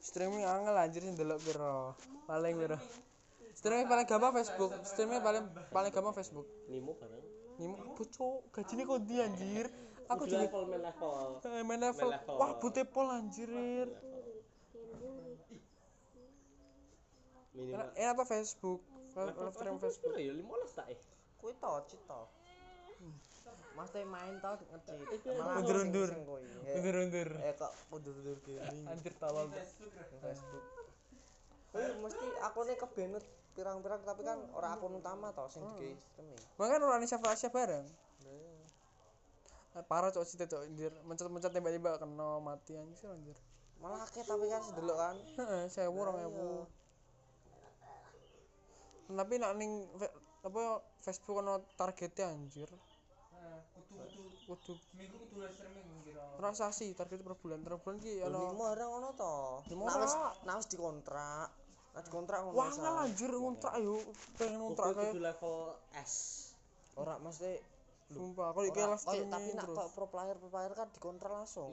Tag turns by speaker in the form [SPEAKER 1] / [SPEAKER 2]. [SPEAKER 1] streaming angel anjir sing delok piro paling piro streaming paling gampang Facebook streaming paling paling gampang Facebook
[SPEAKER 2] Nimo barang.
[SPEAKER 1] Nyimu bocok gajine kok ndi anjir aku
[SPEAKER 2] Udah
[SPEAKER 1] jadi
[SPEAKER 2] level main level.
[SPEAKER 1] Eh, main level
[SPEAKER 2] level.
[SPEAKER 1] wah bute pol anjir
[SPEAKER 2] Minimal.
[SPEAKER 1] enak enak eh, apa Facebook Enak-
[SPEAKER 2] Level
[SPEAKER 1] enak streaming Facebook
[SPEAKER 2] Facebook ya 15 tak eh.
[SPEAKER 3] Kuwi to, cheat to. Hmm. Mas teh main to ngecit. Malah
[SPEAKER 1] Undur-undur.
[SPEAKER 3] sing kuwi. Eh,
[SPEAKER 1] undur-undur
[SPEAKER 3] Eh kok undur-undur gaming
[SPEAKER 1] anjir tolol
[SPEAKER 3] Facebook. Kuwi mesti akune kebenet pirang-pirang tapi kan ora akun utama to sing
[SPEAKER 1] Hmm.
[SPEAKER 3] di sistem e.
[SPEAKER 1] Makanya orang Indonesia Asia bareng. Eh, Parah cok sih cok anjir. Mencet-mencet tiba-tiba kena mati anjir anjir.
[SPEAKER 3] Malah akeh tapi kan sedelok kan.
[SPEAKER 1] Heeh, 1000 2000. Tapi nak ning fe- apa ya, Facebook ono targetnya anjir. Kudu
[SPEAKER 4] minggu kudu live streaming oh. kira.
[SPEAKER 1] transaksi target per bulan. Per bulan ki ono
[SPEAKER 3] Limo orang ono to.
[SPEAKER 1] Limo
[SPEAKER 3] Nah wis
[SPEAKER 1] ora.
[SPEAKER 3] nah wis dikontrak. Nah dikontrak ngono.
[SPEAKER 1] Wah,
[SPEAKER 3] misal.
[SPEAKER 1] ngal anjir ngontrak yo pengen ngontrak
[SPEAKER 2] Kopi
[SPEAKER 1] kayak
[SPEAKER 2] kudu level S.
[SPEAKER 3] Ora mesti
[SPEAKER 1] sumpah kalau iki
[SPEAKER 3] ora-
[SPEAKER 1] live
[SPEAKER 3] koyo- tapi
[SPEAKER 1] streaming
[SPEAKER 3] nak
[SPEAKER 1] terus.
[SPEAKER 3] kok pro player pro player kan dikontrak langsung.